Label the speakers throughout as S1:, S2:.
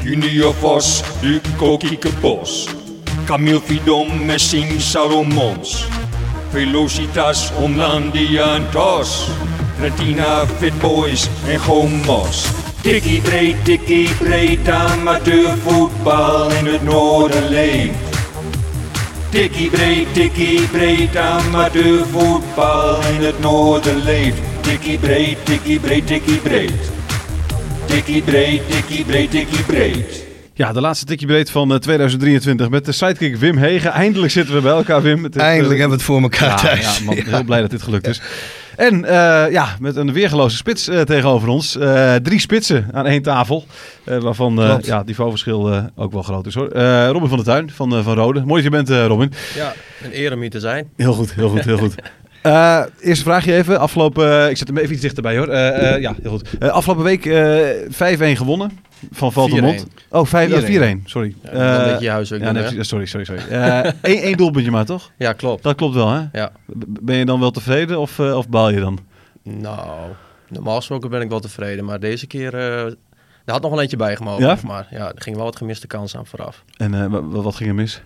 S1: Junior Vos, Hugo Kiekenbos, Camille Fidon, Messing Salomons, Velocitas, Omlandia en Tos, Retina, Fitboys en Gomos. Tikkie breed, tikkie breed, amateurvoetbal in het noorden leeft. Tikkie breed, tikkie breed, amateurvoetbal in het noorden leeft. Tikkie breed, tikkie breed, tikkie breed. Tikkie breed, tikkie breed, tikkie breed.
S2: Ja, de laatste tikje breed van eh, 2023 met de sidekick Wim Hegen. Eindelijk zitten we bij elkaar, Wim. Het is, eh,
S3: Eindelijk hebben we het voor elkaar
S2: ja,
S3: thuis.
S2: ja, man,
S3: Ja.
S2: heel blij dat dit gelukt is. En eh, ja, met een weergeloze spits eh, tegenover ons. Eh, drie spitsen aan één tafel. eh, waarvan eh,
S3: Klopt.
S2: ja, het niveauverschil eh, ook wel groot is hoor. Eh, Robin van der Tuin van, eh, van Rode. Mooi dat je bent, eh, Robin.
S4: Ja, een eer om hier te zijn.
S2: Heel goed, heel goed, heel goed. Eh, eerste vraagje even. Afgelopen, eh, ik zet hem even iets dichterbij hoor. Eh, eh, ja, heel goed. Eh, afgelopen week eh 5-1 gewonnen van Valtemont.
S4: 4-1.
S2: Oh, 5 oh,
S4: 4-1.
S2: 4-1, sorry.
S4: Ja, dan
S2: Eh,
S4: weet je je huis ook
S2: ja,
S4: doen,
S2: nee,
S4: hè?
S2: precies. sorry, sorry, sorry. Eén één doelpuntje maar toch?
S4: Ja, klopt.
S2: Dat klopt wel hè?
S4: Ja.
S2: B- Ben je dan wel tevreden of, eh, of baal je dan?
S4: Nou, normaal gesproken ben ik wel tevreden, maar deze keer... eh er had nog wel eentje bij gemogen,
S2: Ja?
S4: maar ja, er ging wel wat gemiste kans aan vooraf.
S2: En eh, wa- wa- wat ging er mis?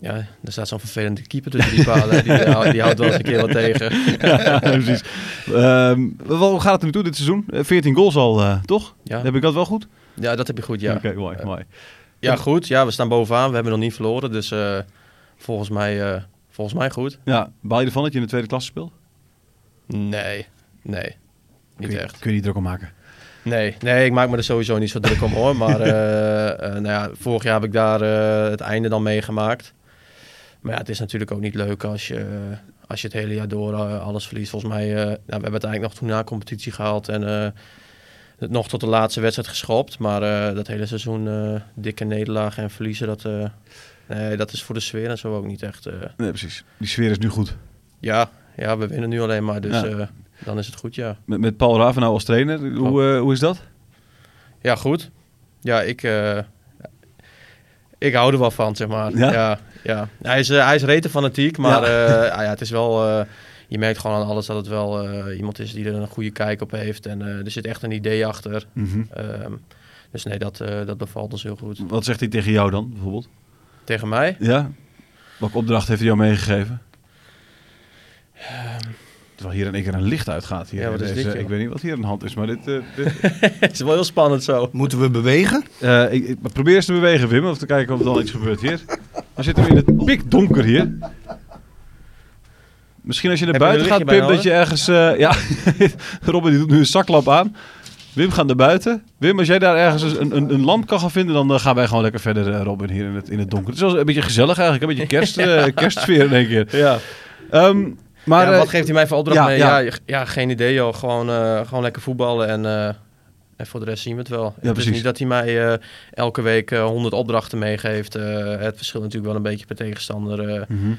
S4: Ja, er staat zo'n vervelende keeper tussen die palen. die, hou- die houdt wel eens een keer wat tegen.
S2: ja, precies. Ehm, wa- wa- hoe gaat het er nu toe dit seizoen? Eh, 14 goals al, eh, toch?
S4: Ja.
S2: Heb ik dat wel goed?
S4: Ja, dat heb je goed, ja.
S2: Oké, mooi,
S4: Eh,
S2: mooi.
S4: Ja, goed. Ja, we staan bovenaan. We hebben nog niet verloren, dus eh, volgens, mij, eh, volgens mij goed.
S2: Ja, baal je ervan dat je in de tweede klasse speelt?
S4: Nee, nee. Niet
S2: kun je,
S4: echt.
S2: Kun je niet druk om maken?
S4: Nee, nee, ik maak me er sowieso niet zo druk om hoor. Maar eh, eh, nou ja, vorig jaar heb ik daar eh, het einde dan meegemaakt. Maar ja, het is natuurlijk ook niet leuk als je, eh, als je het hele jaar door eh, alles verliest. Volgens mij, eh, nou, we hebben het eigenlijk nog toen na competitie gehaald en eh, het nog tot de laatste wedstrijd geschopt. Maar eh, dat hele seizoen eh, dikke nederlagen en verliezen, dat, eh, nee, dat is voor de sfeer en zo ook niet echt. eh,
S2: Nee, precies. Die sfeer is nu goed.
S4: ja, ja, we winnen nu alleen maar, dus
S2: Ja.
S4: eh, dan is het goed, ja.
S2: Met, met Paul Ravenau als trainer, hoe, eh, hoe is dat?
S4: Ja, goed. Ja, ik, eh, ik hou er wel van, zeg maar.
S2: Ja?
S4: Ja? Ja, Hij is, eh, hij is rete fanatiek, maar
S2: Ja.
S4: eh, ah ja, het is wel... eh, je merkt gewoon aan alles dat het wel eh, iemand is die er een goede kijk op heeft. En eh, er zit echt een idee achter.
S2: Mhm.
S4: Ehm, dus nee, dat, eh, dat bevalt ons heel goed.
S2: Wat zegt hij tegen jou dan, bijvoorbeeld?
S4: Tegen mij?
S2: Ja? Welke opdracht heeft hij jou meegegeven? Terwijl hier in één keer een licht uitgaat. Hier
S4: Ja, wat
S2: in
S4: is
S2: deze-
S4: dit, joh?
S2: ik weet niet Ehm. wat hier aan de hand is, maar dit... eh, dit-
S4: het is wel heel spannend zo.
S3: Moeten we bewegen?
S2: Eh, ik, ik- maar probeer eens te bewegen, Wim, of te kijken of er al iets gebeurt hier. We zitten in het pikdonker hier. Misschien als je naar
S4: Heb je
S2: buiten
S4: een
S2: gaat,
S4: lichtje
S2: Pim,
S4: bij
S2: dat je ergens... eh, ja, Robin die doet nu een zaklamp aan. Wim gaat naar buiten. Wim, als jij daar ergens een, een, een lamp kan gaan vinden, dan eh, gaan wij gewoon lekker verder, eh, Robin, hier in het, in het donker. Het is wel een beetje gezellig eigenlijk, een beetje kerst, eh, kerstsfeer in één keer.
S4: Ja.
S2: Ehm, maar
S4: ja,
S2: eh,
S4: wat geeft hij mij voor opdracht
S2: ja,
S4: mee?
S2: ja.
S4: Ja. Ja, geen idee joh. Gewoon, eh, gewoon lekker voetballen en, eh, en voor de rest zien we het wel. het
S2: precies.
S4: is niet dat hij mij eh, elke week eh, 100 opdrachten meegeeft. Eh, het verschilt natuurlijk wel een beetje per tegenstander. eh,
S2: Mhm.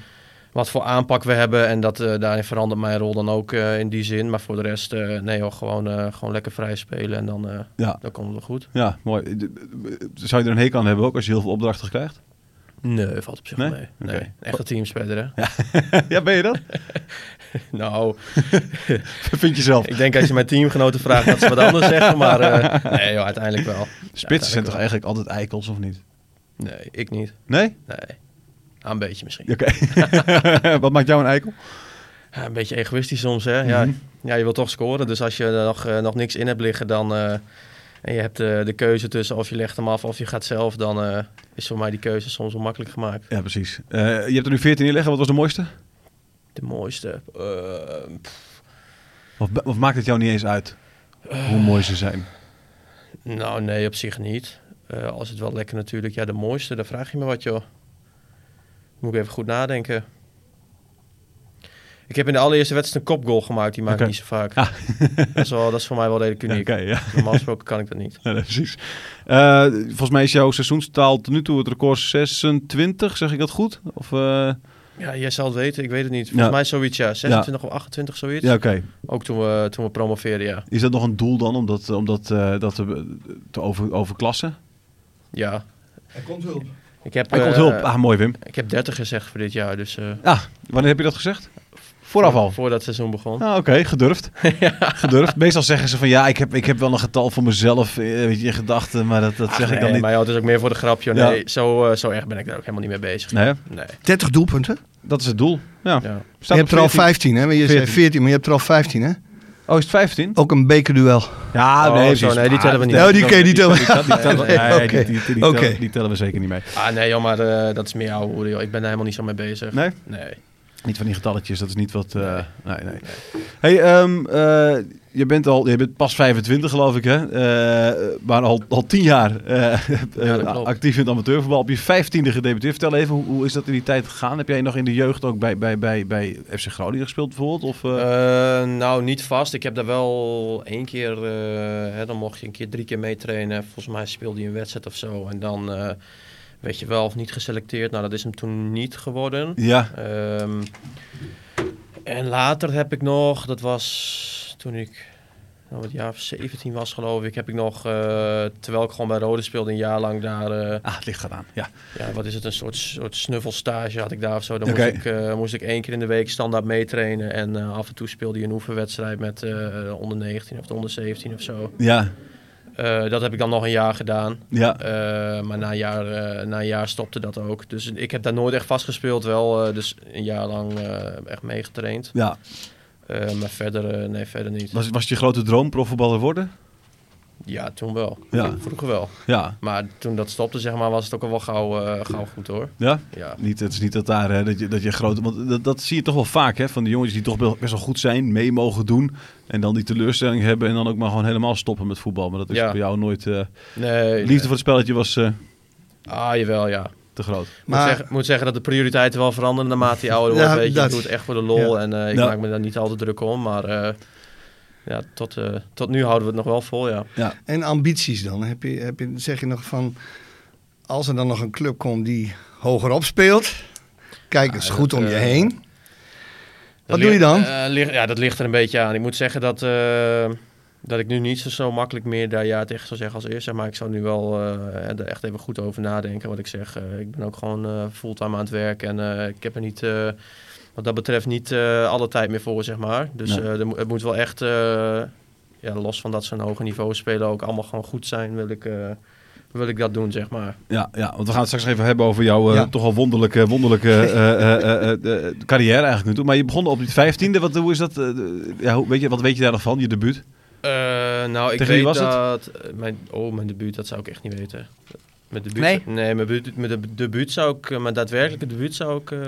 S4: Wat voor aanpak we hebben en dat, eh, daarin verandert mijn rol dan ook eh, in die zin. Maar voor de rest, eh, nee joh, gewoon, eh, gewoon lekker vrij spelen en dan, eh,
S2: Ja.
S4: dan komt het wel goed.
S2: ja, mooi. De- de- Zou je er een hekel aan hebben ook, als je heel veel opdrachten krijgt?
S4: Nee, valt op zich
S2: Nee?
S4: wel mee.
S2: Oké.
S4: Nee, echte teamspeler hè?
S2: ja, ben je dat?
S4: Nou,
S2: Vind je zelf.
S4: ik denk als je mijn teamgenoten vraagt dat ze wat anders zeggen. Maar eh, nee joh, uiteindelijk wel.
S2: Spitsen zijn
S4: uiteindelijk
S2: toch
S4: wel.
S2: eigenlijk altijd eikels, of niet?
S4: Nee, ik niet.
S2: Nee?
S4: Nee. Ah, een beetje misschien.
S2: Oké. Wat maakt jou een eikel?
S4: Ja, een beetje egoïstisch soms, hè. Ja,
S2: Mhm.
S4: ja, je wilt toch scoren. Dus als je er nog, eh, nog niks in hebt liggen, dan... eh, en je hebt eh, de keuze tussen of je legt hem af of je gaat zelf... dan eh, is voor mij die keuze soms onmakkelijk gemaakt.
S2: Ja, precies. Eh, je hebt er nu 14 in liggen. Wat was de mooiste?
S4: De mooiste... eh, pff,
S2: Of, of maakt het jou niet eens uit hoe mooi ze zijn?
S4: nou, nee, op zich niet. Eh, als het wel lekker natuurlijk. Ja, de mooiste, daar vraag je me wat, joh. Moet ik even goed nadenken. Ik heb in de allereerste wedstrijd een kopgoal gemaakt. Die maak ik
S2: Oké. Ah.
S4: niet zo vaak. Dat, is wel, dat is voor mij wel redelijk
S2: Ja,
S4: uniek.
S2: Oké, ja.
S4: Normaal gesproken kan ik dat niet.
S2: Ja, nee, precies. Eh, volgens mij is jouw seizoenstaal tot nu toe het record 26. Zeg ik dat goed? Of, eh,
S4: Ja, jij zal het weten, ik weet het niet. Volgens
S2: Ja.
S4: mij zoiets, ja. 26 of 28, zoiets.
S2: Ja, oké.
S4: Ook toen we, toen we promoveerden, ja.
S2: Is dat nog een doel dan om dat, om dat, eh, dat te, be- te over, overklassen?
S4: ja.
S3: Er komt hulp.
S4: Ik heb,
S2: Hij komt
S4: eh,
S2: hulp. Ah, mooi Wim.
S4: Ik heb 30 gezegd voor dit jaar, dus eh,
S2: Ah, wanneer heb je dat gezegd? Vooraf al?
S4: Voordat het seizoen begon.
S2: Ah, Oké, gedurfd. Gedurfd. Meestal zeggen ze van ja, ik heb, ik heb wel een getal voor mezelf eh, weet je, in gedachten, maar dat, dat zeg ik dan niet.
S4: Maar ja, het is ook meer voor de grap, joh.
S2: Ja.
S4: Nee, zo, eh, zo erg ben ik daar ook helemaal niet mee bezig.
S2: Nee, hè?
S4: Nee.
S3: 30 doelpunten?
S2: dat is het doel. Ja.
S4: Ja.
S2: Staat
S3: Je
S2: op
S3: hebt er
S2: 14.
S3: al 15, hè? Maar Je zei
S2: 14.
S3: 14, maar je hebt er al 15, hè?
S2: Oh, is het 15?
S3: Ook een bekerduel.
S2: Ja,
S4: Oh,
S2: nee,
S4: zo,
S2: precies.
S4: nee, die tellen we
S2: Ah,
S4: niet.
S3: Nou, die kun je niet tellen.
S2: tellen- die tellen-
S4: Nee,
S2: nee, die-
S3: oké.
S2: die- die tellen-
S3: Oké.
S2: Die tellen we zeker niet mee.
S4: Ah, nee, joh, maar eh, dat is meer jouw hoer, joh. Ik ben daar helemaal niet zo mee bezig.
S2: Nee?
S4: Nee.
S2: Niet van die getalletjes, dat is niet wat... eh, nee, nee. Hey, ehm, eh, je bent al, je bent pas 25 geloof ik hè, Eh, maar al, al 10 jaar eh,
S4: Ja, dat
S2: eh,
S4: klopt.
S2: actief in het amateurvoetbal. Op je 15e gedebuteerd. Vertel even, hoe, hoe is dat in die tijd gegaan? Heb jij nog in de jeugd ook bij, bij, bij, bij FC Groningen gespeeld bijvoorbeeld? Of, eh,
S4: Eh, nou, niet vast. Ik heb daar wel één keer, eh, hè, dan mocht je een keer drie keer meetrainen. Volgens mij speelde hij een wedstrijd of zo. En dan eh, werd je wel of niet geselecteerd. Nou, dat is hem toen niet geworden.
S2: ja,
S4: Ehm, en later heb ik nog, dat was toen ik nou, het jaar of 17 was geloof ik, heb ik nog, eh, terwijl ik gewoon bij Rode speelde, een jaar lang daar, eh,
S2: ah, het ligt gedaan. Ja.
S4: ja, wat is het, een soort, soort snuffelstage had ik daar of zo. Dan
S2: Oké.
S4: moest, ik, eh, moest ik één keer in de week standaard meetrainen en eh, af en toe speelde je een oefenwedstrijd met eh, onder 19 of de onder 17 of zo.
S2: Ja,
S4: Eh, dat heb ik dan nog een jaar gedaan.
S2: ja.
S4: Eh, maar na een, jaar, eh, na een jaar stopte dat ook. Dus ik heb daar nooit echt vastgespeeld. Wel eh, dus een jaar lang eh, echt meegetraind.
S2: ja.
S4: Eh, maar verder, eh, nee, verder niet.
S2: Was, was het je grote droom profvoetballer worden?
S4: Ja, toen wel.
S2: Ja.
S4: Vroeger wel.
S2: Ja,
S4: Maar toen dat stopte, zeg maar, was het ook al wel gauw, eh, gauw goed hoor.
S2: ja.
S4: Ja.
S2: Niet, het is niet dat daar hè, dat je, dat je grote. Want dat, dat zie je toch wel vaak, hè? Van de jongens die toch wel- best wel goed zijn, mee mogen doen. En dan die teleurstelling hebben. En dan ook maar gewoon helemaal stoppen met voetbal. Maar dat is
S4: Ja.
S2: bij jou nooit. eh,
S4: Nee.
S2: liefde voor het spelletje was eh,
S4: nee. Ah, jawel, ja.
S2: te groot.
S4: Maar...
S3: Maar-
S4: Moet, zeggen, moet zeggen dat de prioriteiten wel veranderen naarmate je ouder wordt.
S3: Ja,
S4: weet je.
S3: dat-
S4: Ik doe het echt voor de lol en eh, ik
S2: Ja.
S4: maak me daar niet al te druk om. Maar eh, ja, tot, eh, tot nu houden we het nog wel vol, ja.
S3: En ambities dan? Heb je, heb je, zeg je nog van, als er dan nog een club komt die hogerop speelt, kijk eens
S4: Ja,
S3: goed
S4: dat,
S3: om je
S4: eh,
S3: heen.
S4: Dat
S3: Wat doe je
S4: ligt-
S3: dan?
S4: eh, ligt- ja, dat ligt er een beetje aan. Ik moet zeggen dat, eh, dat ik nu niet zo, zo makkelijk meer daar ja tegen zou zeggen als eerst. Zeg maar ik zou nu wel eh, er echt even goed over nadenken wat ik zeg. Eh, ik ben ook gewoon eh, fulltime aan het werk en eh, ik heb er niet, eh, wat dat betreft, niet eh, alle tijd meer voor, zeg maar. Dus
S2: Nee.
S4: eh, er moet- het moet wel echt, eh, ja, los van dat ze een hoger niveau spelen, ook allemaal gewoon goed zijn, wil ik, eh, wil ik dat doen, zeg maar.
S2: Ja, ja, want we gaan het straks even hebben over jouw eh,
S3: Ja.
S2: toch al wonderlijke, wonderlijke eh, eh, eh, eh, eh, carrière eigenlijk nu toe. Maar je begon op die vijftiende. Wat, hoe is dat? eh, ja, hoe, weet je, wat weet je daar nog van? Je debuut?
S4: Eh, nou, ik
S2: Tegen wie
S4: weet
S2: was het?
S4: dat... eh, Mijn, oh, mijn debuut, dat zou ik echt niet weten. Mijn debuut,
S2: Nee?
S4: mijn, debuut, mijn debu- debuut zou ik... eh, Mijn daadwerkelijke debuut zou ik... eh,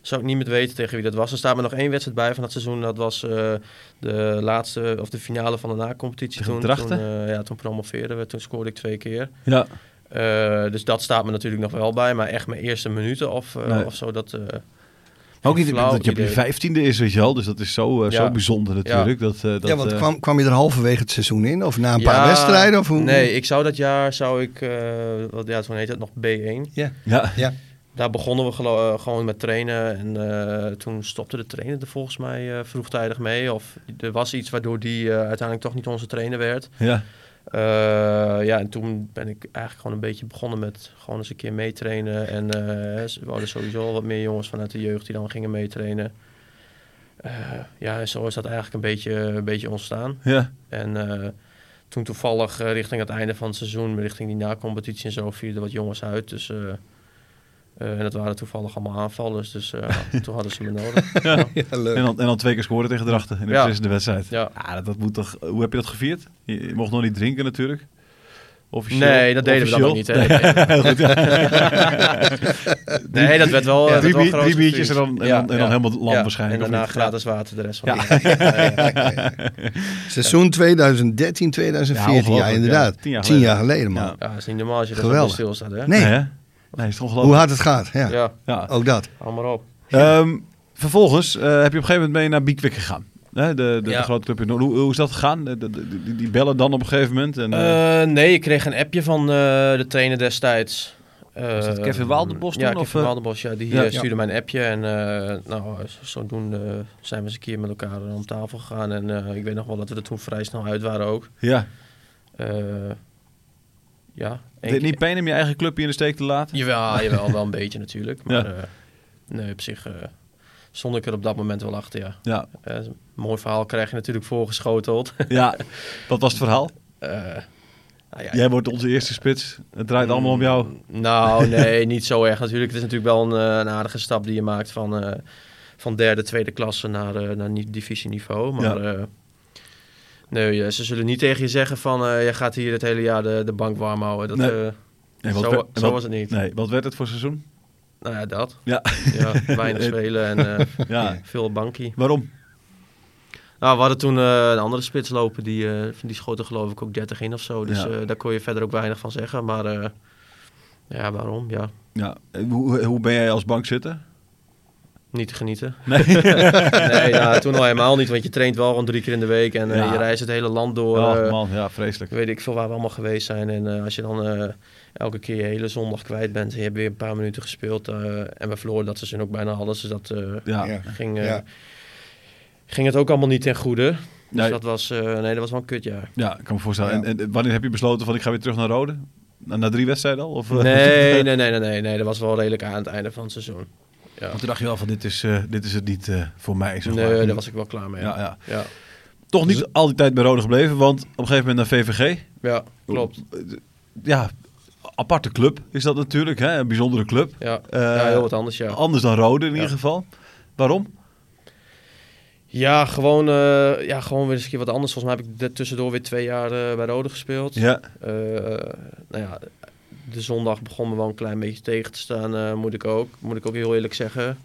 S4: zou ik niet meer weten tegen wie dat was. Er staat me nog één wedstrijd bij van dat seizoen. Dat was eh, de laatste of de finale van de na-competitie.
S2: Tegen
S4: Toen,
S2: Drachten?
S4: Toen, eh, ja, toen promoveerden we. Toen scoorde ik twee keer.
S2: Ja,
S4: Eh, dus dat staat me natuurlijk nog wel bij. Maar echt mijn eerste minuten of, eh,
S2: Nee.
S4: of zo. Dat, eh,
S2: maar ook niet
S4: Flauw
S2: dat je op je
S4: idee.
S2: vijftiende is, weet je wel. Dus dat is zo, eh,
S4: Ja.
S2: zo bijzonder natuurlijk. Dat, eh, dat,
S3: ja, want
S2: eh,
S3: kwam, kwam je er halverwege het seizoen in? Of na een
S4: ja,
S3: paar wedstrijden? Of hoe?
S4: Nee, ik zou dat jaar... Zou ik, eh, wat, ja, toen heette het nog B1.
S3: Ja.
S2: ja,
S4: Daar begonnen we gelo- eh, gewoon met trainen. En eh, toen stopte de trainer er volgens mij eh, vroegtijdig mee. Of er was iets waardoor die eh, uiteindelijk toch niet onze trainer werd.
S2: ja.
S4: Eh, ja, en toen ben ik eigenlijk gewoon een beetje begonnen met gewoon eens een keer meetrainen. En eh ze- we hadden sowieso al wat meer jongens vanuit de jeugd die dan gingen meetrainen. Eh, ja, en zo is dat eigenlijk een beetje, een beetje ontstaan.
S2: ja.
S4: En eh, toen toevallig eh, richting het einde van het seizoen, richting die na-competitie en zo, vielen er wat jongens uit. Dus, eh, eh, en dat waren toevallig allemaal aanvallers, dus eh, toen hadden ze me nodig.
S3: Ja, leuk.
S2: En dan, en dan twee keer scoren tegen Drachten in de
S4: Ja.
S2: beslissende wedstrijd.
S4: Ja.
S2: Ah, dat, dat moet toch, hoe heb je dat gevierd? Je, je mocht nog niet drinken natuurlijk. Officieel,
S4: Nee, dat deden we dan ook niet. Hè?
S2: Nee, heel goed, ja.
S4: Nee, dat werd wel. eh, werd
S2: drie,
S4: wel
S2: bier-
S4: groot
S2: drie biertjes en dan, en
S4: natuurlijk.
S2: dan,
S4: Ja,
S2: en dan
S4: ja.
S2: helemaal lam
S4: Ja,
S2: waarschijnlijk.
S4: En
S2: of
S4: daarna
S2: niet?
S4: gratis water de rest van de
S3: Ja, ja, ja, ja. Seizoen 2013, 2014, ja,
S2: ongelooflijk,
S3: inderdaad.
S2: ja. Tien
S3: Tien
S2: jaar
S3: jaar,
S2: geleden.
S3: geleden, man.
S2: Ja.
S4: Ja, dat is niet normaal als je daar zo bij
S3: Geweldig.
S4: stilstaat, hè?
S3: Nee, Oh,
S2: Nee, hè? nee is toch
S3: hoe
S2: ongelooflijk.
S3: hard het gaat. Ja.
S4: Ja,
S2: Ja.
S3: Ook dat.
S4: hou maar op.
S2: Ehm, vervolgens eh, heb je op een gegeven moment mee naar Bikwik gegaan. Hè, de, de, de
S4: Ja.
S2: grote club in Noord. Hoe, hoe is dat gegaan? De- de- de- die, die bellen dan op een gegeven moment. En, eh,
S4: Eh, nee, ik kreeg een appje van eh, de trainer destijds.
S2: Was dat
S4: Eh,
S2: Kevin Waaldenbos
S4: Ja,
S2: toen, of,
S4: Kevin
S2: eh?
S4: Waaldenbos, ja. Die
S2: Ja.
S4: eh, stuurde mij een appje. En eh, nou, zo- zodoende zijn we eens een keer met elkaar eh, om tafel gegaan. En eh, ik weet nog wel dat we er toen vrij snel uit waren ook.
S2: ja.
S4: Eh, ja.
S2: Deed
S4: één
S2: het
S4: keer-
S2: niet pijn om je eigen clubje in de steek te laten?
S4: Jawel, jawel, wel een beetje natuurlijk. Maar
S2: Ja.
S4: eh, nee, op eh, zich eh, stond ik er op dat moment wel achter, ja.
S2: Ja,
S4: Eh, een mooi verhaal krijg je natuurlijk voorgeschoteld.
S2: ja, dat was het verhaal.
S4: Eh, nou ja,
S2: Jij wordt onze eerste spits. Het draait allemaal om jou.
S4: Nou, nee, niet zo erg natuurlijk. Het is natuurlijk wel een, eh, een aardige stap die je maakt van, eh, van derde, tweede klasse naar, eh naar ni- divisieniveau. Maar eh, nee, eh, ze zullen niet tegen je zeggen van eh je gaat hier het hele jaar de, de bank warm houden. Dat,
S2: Nee.
S4: eh,
S2: Nee,
S4: zo,
S2: werd-
S4: zo
S2: wat-
S4: was het niet.
S2: Nee, wat werd het voor seizoen?
S4: Nou ja, dat.
S2: Ja.
S4: Ja, weinig spelen en eh,
S2: Ja.
S4: veel bankie.
S2: Waarom?
S4: Nou, we hadden toen eh, een andere spits lopen. Die, eh, die schoten geloof ik ook 30 in of zo. Dus
S2: Ja.
S4: eh, daar kon je verder ook weinig van zeggen. Maar eh, ja, waarom? Ja,
S2: Ja. eh, Hoe, hoe ben jij als bank zitten?
S4: niet te genieten.
S2: Nee.
S4: Nee, nou, toen al helemaal niet, want je traint wel gewoon drie keer in de week en eh,
S2: Ja.
S4: je reist het hele land door.
S2: Oh
S4: eh,
S2: man, ja, vreselijk.
S4: weet ik veel waar we allemaal geweest zijn. En eh, als je dan eh, elke keer je hele zondag kwijt bent en je hebt weer een paar minuten gespeeld eh, en we verloren dat seizoen ook bijna alles. Dus dat eh,
S2: Ja.
S3: Ja.
S4: ging, eh,
S3: Ja.
S4: ging het ook allemaal niet ten goede. Dus
S2: Nee.
S4: dat was, eh, nee, dat was wel een kutjaar.
S2: Ja, ik kan me voorstellen.
S3: Ja.
S2: En, en wanneer heb je besloten van ik ga weer terug naar Rode? Na, na drie wedstrijden al? Of, eh?
S4: Nee, nee, nee, nee, nee, nee, dat was wel redelijk aan het einde van het seizoen. Ja.
S2: Want toen dacht je wel van dit is, eh, dit is het niet eh, voor mij. Zeg maar.
S4: Nee, daar was ik wel klaar mee.
S2: ja, ja.
S4: ja.
S2: Toch niet al die tijd bij Rode gebleven, want op een gegeven moment naar VVG.
S4: ja klopt.
S2: Ja, aparte club is dat natuurlijk. Hè? Een bijzondere club.
S4: Ja.
S2: Eh,
S4: ja, heel wat anders, ja.
S2: Anders dan Rode in
S4: Ja.
S2: ieder geval. Waarom?
S4: Ja, gewoon, eh, ja, gewoon weer eens een keer wat anders. Volgens mij heb ik er tussendoor weer twee jaar eh, bij Rode gespeeld.
S2: Ja,
S4: Eh, nou ja, de zondag begon me wel een klein beetje tegen te staan, eh, moet, ik ook, moet ik ook heel eerlijk zeggen.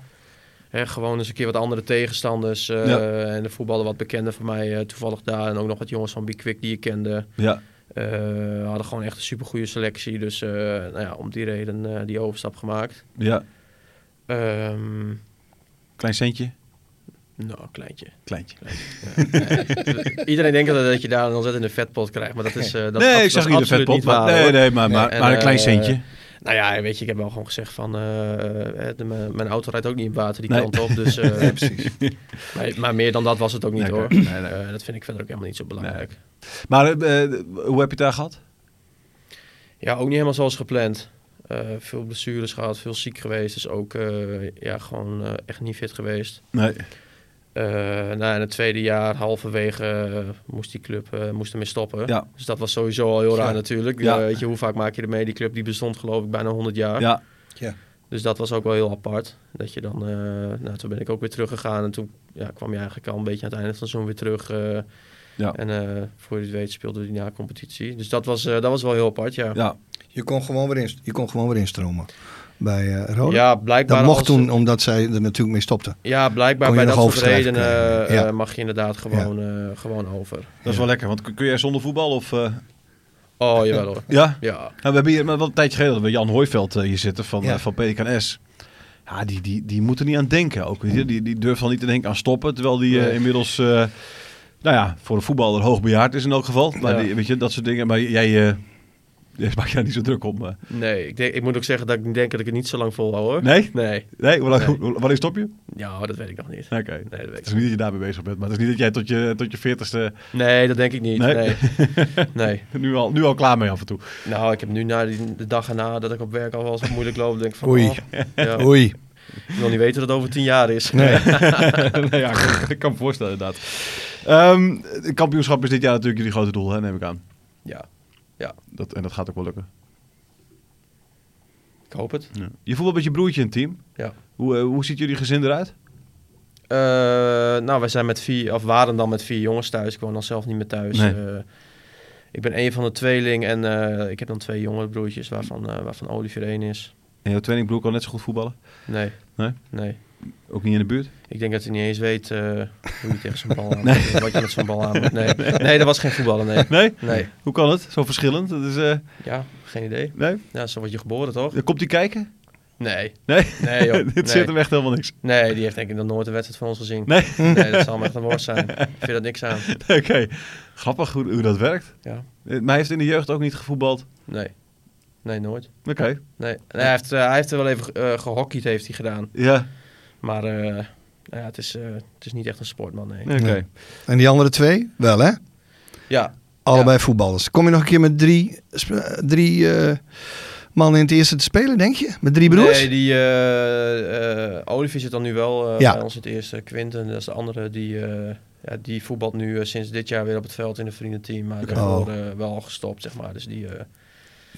S4: Hè, gewoon eens een keer wat andere tegenstanders. eh,
S2: Ja.
S4: En de voetballen wat bekender van mij eh, toevallig daar. En ook nog wat jongens van Bikwik die je kende.
S2: ja.
S4: Eh hadden gewoon echt een supergoeie selectie. Dus eh, nou ja, om die reden eh, die overstap gemaakt.
S2: ja.
S4: Ehm,
S2: Klein centje.
S4: nou, een kleintje.
S2: Kleintje.
S4: Iedereen denkt dat, dat je daar een ontzettende vetpot krijgt, maar dat is, eh, dat is
S2: nee,
S4: abso-
S2: ik zag
S4: dat
S2: niet
S4: is
S2: de
S4: absoluut
S2: vetpot.
S4: waar,
S2: Maar, nee,
S4: hoor.
S2: nee, maar, maar,
S4: en,
S2: maar een klein
S4: eh,
S2: centje.
S4: Nou ja, weet je, ik heb wel gewoon gezegd van, eh, eh, de- mijn mijn auto rijdt ook niet in water die
S2: Nee.
S4: kant op, dus... eh, maar, maar meer dan dat was het ook niet
S2: Nee,
S4: hoor.
S2: oké. Nee, nee.
S4: Eh, dat vind ik verder ook helemaal niet zo belangrijk.
S2: Maar eh, eh, hoe heb je het daar gehad?
S4: Ja, ook niet helemaal zoals gepland. Eh, veel blessures gehad, veel ziek geweest, dus ook eh, ja, gewoon eh, echt niet fit geweest.
S2: Nee.
S4: Eh nou, in het tweede jaar, halverwege, eh, moest die club eh, moest ermee stoppen.
S2: Ja.
S4: Dus dat was sowieso al heel raar
S3: Ja.
S4: natuurlijk.
S2: Ja.
S4: Eh, weet je, hoe vaak maak je er mee? Die club die bestond geloof ik bijna 100 jaar.
S2: Ja.
S4: Dus dat was ook wel heel apart. Dat je dan, eh, nou toen ben ik ook weer teruggegaan. En toen ja, kwam je eigenlijk al een beetje aan het einde van het seizoen weer terug. eh,
S2: Ja.
S4: En eh, voor je het weet speelde die na competitie. Dus dat was, eh, dat was wel heel apart, ja.
S2: Ja.
S3: Je kon gewoon weer, in, je kon gewoon weer instromen bij eh Roda.
S4: Ja, blijkbaar
S3: dat mocht
S4: als-
S3: toen, omdat zij er natuurlijk mee stopte.
S4: Ja, blijkbaar
S3: kon je
S4: bij dat
S3: nog
S4: soort
S3: overschrijven
S4: redenen
S3: krijgen.
S4: eh,
S3: Ja.
S4: eh, mag je inderdaad gewoon, eh, gewoon over.
S2: Dat is wel lekker, want kun- kun jij zonder voetbal of... eh,
S4: Oh, jawel hoor.
S2: ja?
S4: Ja,
S2: Nou, we hebben hier maar wel een tijdje geleden dat we Jan Hooiveld eh, hier zitten van,
S3: Ja.
S2: eh, van PKNS. Ja, die, die, die moet er niet aan denken ook. weet je. Die, die durft al niet te denken aan stoppen, terwijl die eh,
S4: Nee.
S2: inmiddels... eh, nou ja, voor een voetballer hoogbejaard is in elk geval. Maar
S4: Ja.
S2: die, weet je, dat soort dingen. Maar jij eh, jij maakt je daar niet zo druk om. eh.
S4: nee. Ik, denk, ik moet ook zeggen dat ik denk dat ik het niet zo lang volhou hoor.
S2: Nee?
S4: Nee.
S2: Nee? Hoe lang-
S4: Nee.
S2: hoe- Wanneer stop je? Oké.
S4: Ja, dat weet ik nog niet. Nee, dat weet
S2: Het
S4: ik
S2: is niet dat je daarmee bezig bent, maar het is niet dat jij tot je, tot je veertigste
S4: Nee, dat denk ik niet.
S2: Nee.
S4: Nee. Nee.
S2: nu al, nu al klaar mee af en toe.
S4: Nou, ik heb nu na die, de dag erna dat ik op werk al wel eens moeilijk loop, denk ik van...
S3: Oei.
S4: oh, ja,
S3: Oei.
S4: ik wil niet weten dat het over tien jaar is.
S3: Nee.
S2: nee, ja, ik, kan- ik kan me voorstellen inderdaad. Ehm, het kampioenschap is dit jaar natuurlijk jullie grote doel, hè, neem ik aan.
S4: Ja,
S2: Dat, en dat gaat ook wel lukken.
S4: ik hoop het.
S2: Je voetbal met je broertje in het team.
S4: Ja.
S2: Hoe, eh, hoe ziet jullie gezin eruit?
S4: Eh, nou, wij zijn met vier, of waren dan met vier jongens thuis. Ik woon dan zelf niet meer thuis.
S2: Nee.
S4: Eh, ik ben een van de tweeling en eh, ik heb dan twee jongere broertjes waarvan, eh, waarvan Olivier één is.
S2: En jouw tweelingbroer kan net zo goed voetballen.
S4: Nee.
S2: Nee?
S4: Nee.
S2: Ook niet in de buurt.
S4: Ik denk dat hij niet eens weet eh, hoe je tegen zo'n bal aan moet, eh, Wat je met zo'n bal aan moet. Nee. nee, dat was geen voetballen, nee.
S2: Nee?
S4: Nee.
S2: Hoe kan het? Zo verschillend. Dat is, eh,
S4: Ja, geen idee.
S2: nee? Eh,
S4: Ja, zo word je geboren, toch?
S2: Komt hij kijken?
S4: Nee.
S2: Nee?
S4: Nee, joh.
S2: dit zit hem echt helemaal niks.
S4: Nee, die heeft denk ik nog nooit een wedstrijd van ons gezien.
S2: Nee?
S4: Nee, dat zal me echt een woord zijn. Ik vind dat niks aan.
S2: Oké. Grappig hoe, hoe dat werkt.
S4: Ja.
S2: Eh, Maar hij heeft in de jeugd ook niet gevoetbald.
S4: Nee. Nee, nooit.
S2: Oké.
S4: Nee. Nee, hij, heeft, eh, hij heeft er wel even eh gehockeyd, heeft hij gedaan.
S2: Ja.
S4: Maar eh, nou ja, het, is, eh, het is niet echt een sportman, nee.
S2: Oké.
S3: Nee. En die andere twee? Wel hè?
S4: Ja.
S3: Allebei voetballers. Kom je nog een keer met drie, sp- eh, drie eh, man in het eerste te spelen, denk je? Met drie broers?
S4: Nee, die eh, eh, Olivier zit dan nu wel eh,
S3: Ja.
S4: bij ons het eerste. Quinten, dat is de andere, die, eh, ja, die voetbalt nu eh, sinds dit jaar weer op het veld in het vriendenteam. Maar daarvoor
S3: Oh.
S4: eh, wel al gestopt, zeg maar. Dus die, eh,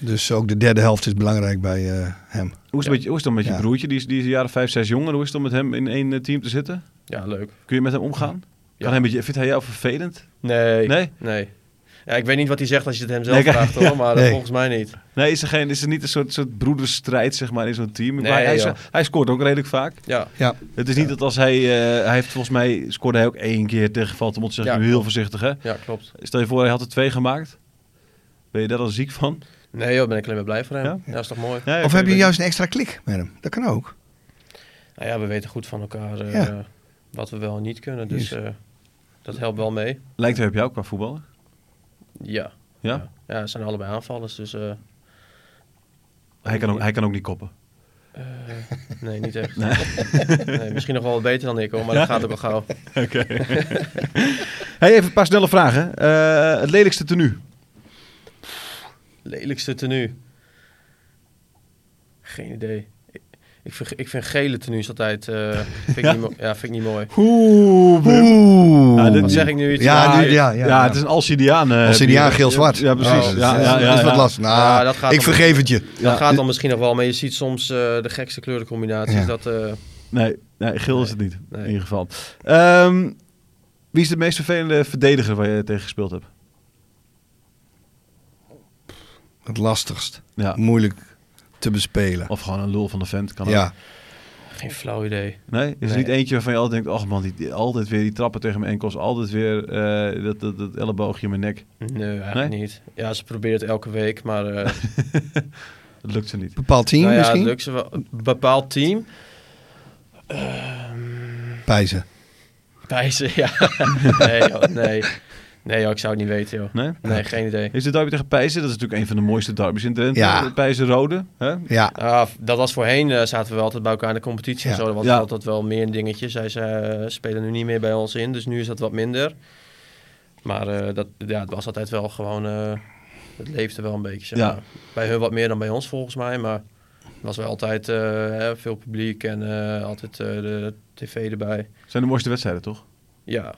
S3: Dus ook de derde helft is belangrijk bij eh, hem.
S2: Hoe is, het met, je- hoe is het dan met je
S3: Ja.
S2: broertje? Die is, die is een jaar of vijf, zes jonger. Hoe is het dan met hem in één eh, team te zitten?
S4: ja, leuk.
S2: Kun je met hem omgaan?
S4: Ja.
S2: Kan hij met je, vindt hij jou vervelend?
S4: Nee.
S2: Nee?
S4: Nee. Ja, ik weet niet wat hij zegt als je het hem zelf
S2: Nee, ik-
S4: vraagt, hoor, maar eh,
S3: Nee.
S4: volgens mij niet.
S2: Nee, is er, geen, is er niet een soort, soort broederstrijd zeg maar, in zo'n team?
S4: Nee,
S2: maar hij, is-
S4: joh.
S2: hij scoort ook redelijk vaak.
S4: Ja,
S3: Ja,
S2: Het is niet dat als hij... eh, hij heeft volgens mij... Scoorde hij ook één keer tegen Valtemont. Zeg
S4: Ja,
S2: nu heel
S4: klopt.
S2: voorzichtig, hè?
S4: ja klopt.
S2: Stel je voor, hij had er twee gemaakt. Ben je daar dan ziek van?
S4: Nee, joh, ben ik alleen maar blij voor hem.
S2: Ja?
S4: Ja, is toch mooi.
S2: Nee,
S3: of
S2: oké,
S3: heb je
S2: ben-
S3: juist een extra klik met hem? Dat kan ook.
S4: Nou ja, we weten goed van elkaar eh,
S3: Ja.
S4: wat we wel en niet kunnen, dus eh, dat helpt wel mee.
S2: Lijkt hij op jou qua voetballer?
S4: Ja.
S2: Ja?
S4: Ja, het zijn allebei aanvallers, dus eh,
S2: Hij, kan ook, hij kan ook niet koppen.
S4: nee, niet echt. Nee. misschien nog wel wat beter dan ik, hoor, maar dat gaat ook wel gauw.
S2: Oké. hey, even een paar snelle vragen. Eh, het lelijkste tenue?
S4: Lelijkste tenue. Geen idee. Ik- Ik vind, ik vind gele tenues altijd... eh, vind ik
S2: Ja?
S4: Niet mo- ja, vind ik niet mooi.
S2: Oeh,
S3: Oeh.
S2: Ja, dit-
S4: Wat zeg ik nu iets?
S3: Ja,
S4: Maar-
S3: nu- ja, ja,
S2: Ja,
S3: ja.
S2: het is een Alcidiaan. eh,
S3: Alcidiaan
S2: bier.
S3: geel-zwart.
S2: Ja, precies. ja,
S3: Oh, dat
S2: ja,
S3: is-
S2: ja,
S3: is wat
S2: ja.
S3: lastig. Nou,
S4: Ja, dat gaat
S3: ik
S4: om-
S3: vergeef het je.
S2: Ja.
S4: Dat gaat dan misschien nog wel, maar je ziet soms eh, de gekste kleurencombinaties.
S3: Ja.
S4: Dat, eh,
S2: Nee, nee, geel is het niet.
S4: Nee.
S2: In ieder geval. Ehm, wie is de meest vervelende verdediger waar je tegen gespeeld hebt?
S3: Het lastigst.
S2: Ja.
S3: Moeilijk te bespelen.
S2: Of gewoon een lul van de vent. Kan ook.
S3: ja.
S4: geen flauw idee.
S2: Nee? Is er
S4: Nee.
S2: niet eentje waarvan je altijd denkt... Ach man, die, die- altijd weer die trappen tegen mijn enkels. Altijd weer eh, dat, dat, dat elleboogje in mijn nek.
S4: Nee, eigenlijk
S2: Nee?
S4: niet. Ja, ze probeert elke week, maar eh,
S2: Dat lukt ze niet.
S3: Bepaald team
S4: nou ja, het
S3: misschien?
S4: lukt ze wel. Een bepaald team.
S3: Pijzen.
S4: Bij ze, ja. nee, joh, nee. Nee, joh, ik zou het niet weten, joh.
S2: Nee?
S4: Nee, geen idee.
S2: Is de derby tegen Pijzen? Dat is natuurlijk een van de mooiste derbies in Drenthe.
S3: Ja.
S2: Pijzen Rode. Hè?
S3: Ja.
S4: Ah, f- dat was voorheen, eh, zaten we wel altijd bij elkaar in de competitie en
S3: Ja.
S4: zo. Dat was
S2: Ja.
S4: altijd wel meer een dingetje. Zij ze, eh, spelen nu niet meer bij ons in, dus nu is dat wat minder. Maar eh, dat, ja, het was altijd wel gewoon... eh, het leefde wel een beetje, zeg
S2: Ja.
S4: maar. Bij hun wat meer dan bij ons, volgens mij. Maar het was wel altijd eh, hè, veel publiek en eh, altijd eh, de tv erbij.
S2: Zijn de mooiste wedstrijden, toch?
S4: Ja.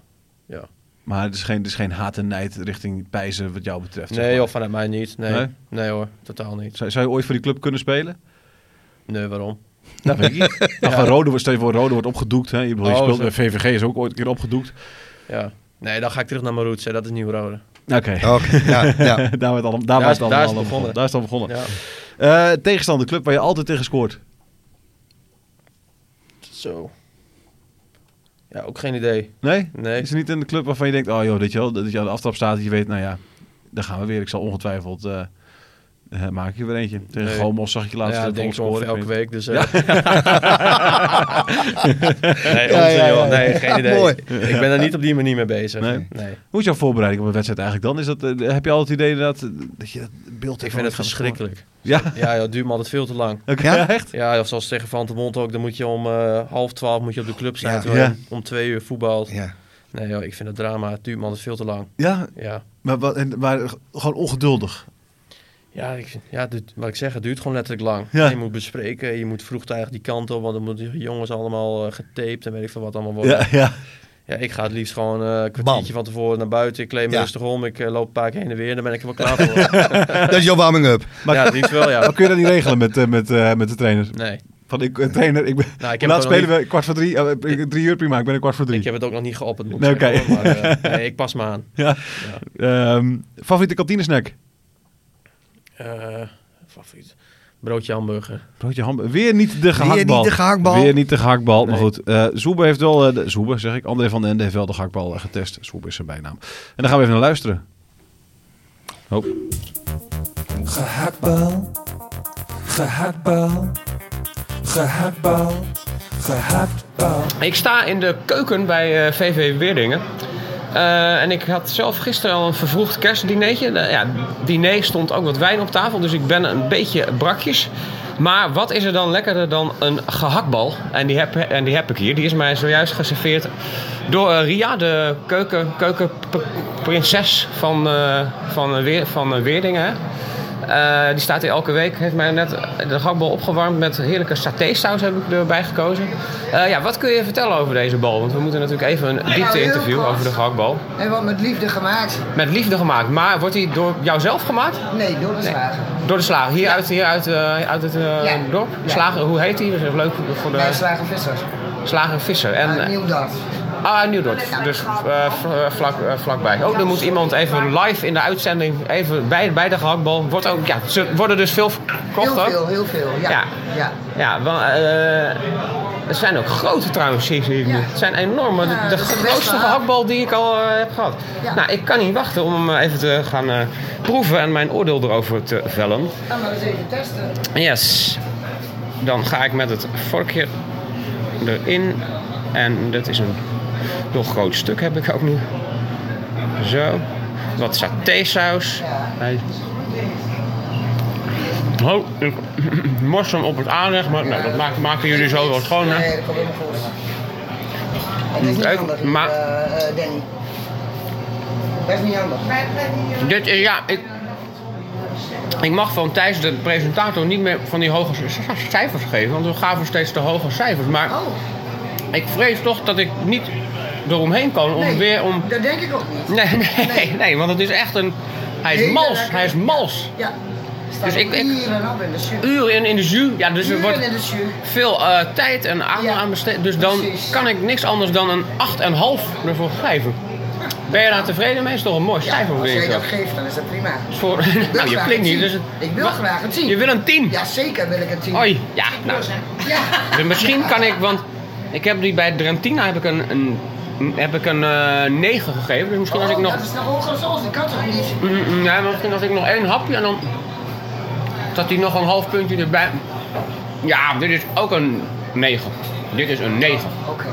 S2: Maar het is geen, het is geen haat en nijd richting Pijzen wat jou betreft. zeg
S4: Nee,
S2: maar.
S4: joh, vanuit mij niet. Nee.
S2: Nee?
S4: nee? hoor, totaal niet.
S2: Zou, zou je ooit voor die club kunnen spelen?
S4: Nee, waarom?
S2: Nou, weet ik niet. Nou, van Rode, wordt- stel je voor, Rode wordt opgedoekt. Hè? Je, bedoelt, je
S4: Oh,
S2: speelt
S4: zo.
S2: bij VVG, is ook ooit een keer opgedoekt.
S4: Ja. Nee, dan ga ik terug naar mijn roots. Hè. Dat is Nieuw-Rode.
S2: Oké.
S3: Oké. Ja, ja.
S2: daar werd allemaal, daar
S4: Oh,
S2: was
S4: Daar is-
S2: het allemaal
S4: daar is het
S2: allemaal
S4: begonnen.
S2: Daar is het al begonnen.
S4: Ja.
S2: Eh, tegenstander, club waar je altijd tegen scoort.
S4: Zo. Ja, ook geen idee.
S2: Nee?
S4: Nee.
S2: Is er niet in de club waarvan je denkt, oh joh, dat je, wel- dat je aan de aftrap staat, dat je weet, nou ja, daar gaan we weer. Ik zal ongetwijfeld, eh eh, maak ik er weer eentje. Tegen
S4: Nee.
S2: Gomos zag ik je
S4: Nou
S2: laatst
S4: ja,
S2: eh,
S4: dat denk ik
S2: goal
S4: ongeveer
S2: scoren.
S4: elke
S2: Ik
S4: week. Dus, eh. nee,
S3: Ja,
S4: onzin,
S3: ja,
S4: joh.
S3: ja.
S4: nee, geen idee.
S3: Mooi.
S4: Ik ben er niet op die manier mee bezig.
S2: Nee.
S4: Nee.
S2: weet- Hoe is jouw voorbereiding op een wedstrijd eigenlijk dan? Is dat, eh, heb je al het idee dat, dat je dat beeld
S4: Ik
S2: van
S4: vind
S2: gaat
S4: het verschrikkelijk.
S2: scoren? Ja?
S4: Ja, joh, het duurt me altijd veel te lang.
S2: Oké,
S3: Ja?
S2: echt?
S4: Ja, joh, zoals tegen Van der Mond ook. Dan moet je om eh, half twaalf moet je op de club zijn.
S3: Ja.
S4: terwijl je
S2: Ja.
S4: Om twee uur voetbal.
S3: ja.
S4: Nee, joh, ik vind het drama. Het duurt me altijd veel te lang.
S2: Ja,
S4: Ja,
S2: maar, wat- en- maar gewoon ongeduldig.
S4: ja, ik, vind- ja het duurt- wat ik zeg, het duurt gewoon letterlijk lang.
S2: Ja.
S4: Je moet bespreken. Je moet vroegtijdig die kant op. Want dan moeten die jongens allemaal eh, getaped en weet ik veel wat allemaal worden.
S2: Ja, ja.
S4: Ja, ik ga het liefst gewoon eh, een kwartiertje van tevoren naar buiten. Ik kleed me
S3: Ja.
S4: rustig om. Ik eh, loop een paar keer heen en weer. En dan ben ik er wel klaar voor.
S3: Dat is jouw warming-up.
S2: Maar-
S4: ja, het liefst wel, ja.
S2: Maar kun je dat niet regelen met, eh, met, eh, met de trainer?
S4: Nee.
S2: Van ik, eh, trainer, ik ben.
S4: Nou,
S2: Hoe laat
S4: ik heb, het ook nog
S2: spelen we kwart voor drie. eh, eh, drie uur prima, ik ben een kwart voor
S4: niet,
S2: drie.
S4: ik heb het ook nog niet geopperd. moet ik
S2: Nee,
S4: zeggen,
S2: oké.
S4: hoor, maar, eh, nee, ik pas me aan.
S2: Ja. Ehm, favoriete kantinesnack?
S4: Eh, favoriet. Broodje hamburger.
S2: Broodje hamburger. Weer niet de gehaktbal.
S3: niet de gehaktbal.
S2: Weer niet de gehaktbal. Maar
S4: Nee.
S2: goed, eh Zoebe heeft wel. eh, de- Zoebe zeg ik. André van den Ende heeft wel de gehaktbal eh, getest. Zoebe is zijn bijnaam. En dan gaan we even naar luisteren. Hoop.
S5: Gehaktbal. Gehaktbal. Gehaktbal. Gehaktbal.
S6: Ik sta in de keuken bij eh, VV Weerdingen. Eh, en ik had zelf gisteren al een vervroegd kerstdinertje. Nou ja, diner stond ook wat wijn op tafel, dus ik ben een beetje brakjes. Maar wat is er dan lekkerder dan een gehaktbal? En die heb, en die heb ik hier. Die is mij zojuist geserveerd door eh, Ria, de keuken, keukenprinses van, eh, van, eh, Weer- van eh, Weerdingen. hè. Eh, die staat hier elke week. Heeft mij net de gakbal opgewarmd met heerlijke satésaus heb ik erbij gekozen. Eh, ja, wat kun je vertellen over deze bal? Want we moeten natuurlijk even een diepte interview
S7: Nou, heel kort.
S6: over de gakbal.
S7: Hij wordt met liefde gemaakt.
S6: Met liefde gemaakt. Maar wordt die door jou zelf gemaakt?
S7: Nee, door de slager.
S6: Door de slager. Hier uit, hier uit, eh, uit het eh,
S7: Ja.
S6: dorp.
S7: Ja.
S6: Slager, hoe heet die? Dat is leuk voor
S7: Bij
S6: de
S7: slager Vissers.
S6: slager Visser. En,
S7: Uit
S6: eh,
S7: Nieuwdorp.
S6: Ah, nu dat. Dus eh, v- eh, vlak, eh, vlakbij. Ook dan moet iemand even live in de uitzending, even bij, bij de gehaktbal. Wordt ook, ja, ze worden dus veel verkocht
S7: Heel
S6: ook.
S7: veel, heel veel. Ja.
S6: Ja.
S7: ja.
S6: Ja, wel, eh, het zijn ook grote trouwens, zie ik nu.
S7: Ja.
S6: Het zijn enorme.
S7: Ja,
S6: de
S7: dat
S6: de
S7: is best
S6: grootste
S7: wel.
S6: gehaktbal die ik al eh, heb gehad.
S7: Ja.
S6: Nou, ik kan niet wachten om hem eh, even te gaan eh, proeven en mijn oordeel erover te vellen.
S7: Gaan we eens even testen.
S6: Yes. Dan ga ik met het vorkje erin. En dat is een nog groot stuk heb ik ook nu. Zo. Wat satésaus. Hij... Oh, ik mors hem op het aanleg, maar nou, dat maakt- maken jullie zo wel schoon, hè?
S7: Nee, dat komt helemaal goed. Het is niet
S6: Kijk,
S7: handig,
S6: maar-
S7: maar... Danny. Dat is niet handig.
S6: Dit is, ja, ik... Ik mag van Thijs, de presentator, niet meer van die hoge c- cijfers geven, want we gaven steeds te hoge cijfers. Maar
S7: Oh,
S6: Ik vrees toch dat ik niet eromheen kan om
S7: nee.
S6: weer om.
S7: Dat denk ik ook niet.
S6: Nee, nee, nee, want het is echt een. Hij is
S7: Hele
S6: mals,
S7: lekker.
S6: hij is mals.
S7: Ja.
S6: Dus
S7: Dus
S6: ik- ik-
S7: ik... Uren op in de zuur.
S6: Uren in, in de jus, ja, dus er
S7: Uren
S6: wordt
S7: in de zuur.
S6: veel eh, tijd en aandacht
S7: Ja,
S6: aan besteed. Dus dan
S7: precies.
S6: kan ik niks anders dan een 8,5 ervoor geven. Ben je daar tevreden mee? Is toch een mooi cijfer,
S7: Als
S6: vind
S7: jij
S6: ik dat.
S7: dat geeft, dan is dat prima.
S6: Voor,
S7: Ik wil
S6: nou, je
S7: graag
S6: klinkt
S7: een
S6: niet, dus
S7: tien.
S6: het-
S7: Ik wil
S6: Wacht,
S7: graag een 10.
S6: Je wil een 10?
S7: Jazeker wil ik een 10.
S6: Oei, ja, nou.
S7: Ja.
S6: Dus misschien kan ik, want ik heb die bij Drentina heb ik een, een, heb ik een eh 9 gegeven. Dus misschien als ik
S7: Oh,
S6: nog
S7: Dat is nog hoger zoals, dat kan toch niet?
S6: Mm, mm, Ja, maar misschien als ik nog één hapje en dan. dat hij nog een half puntje erbij. Ja, dit is ook een 9. Dit is een 9.
S7: Oké.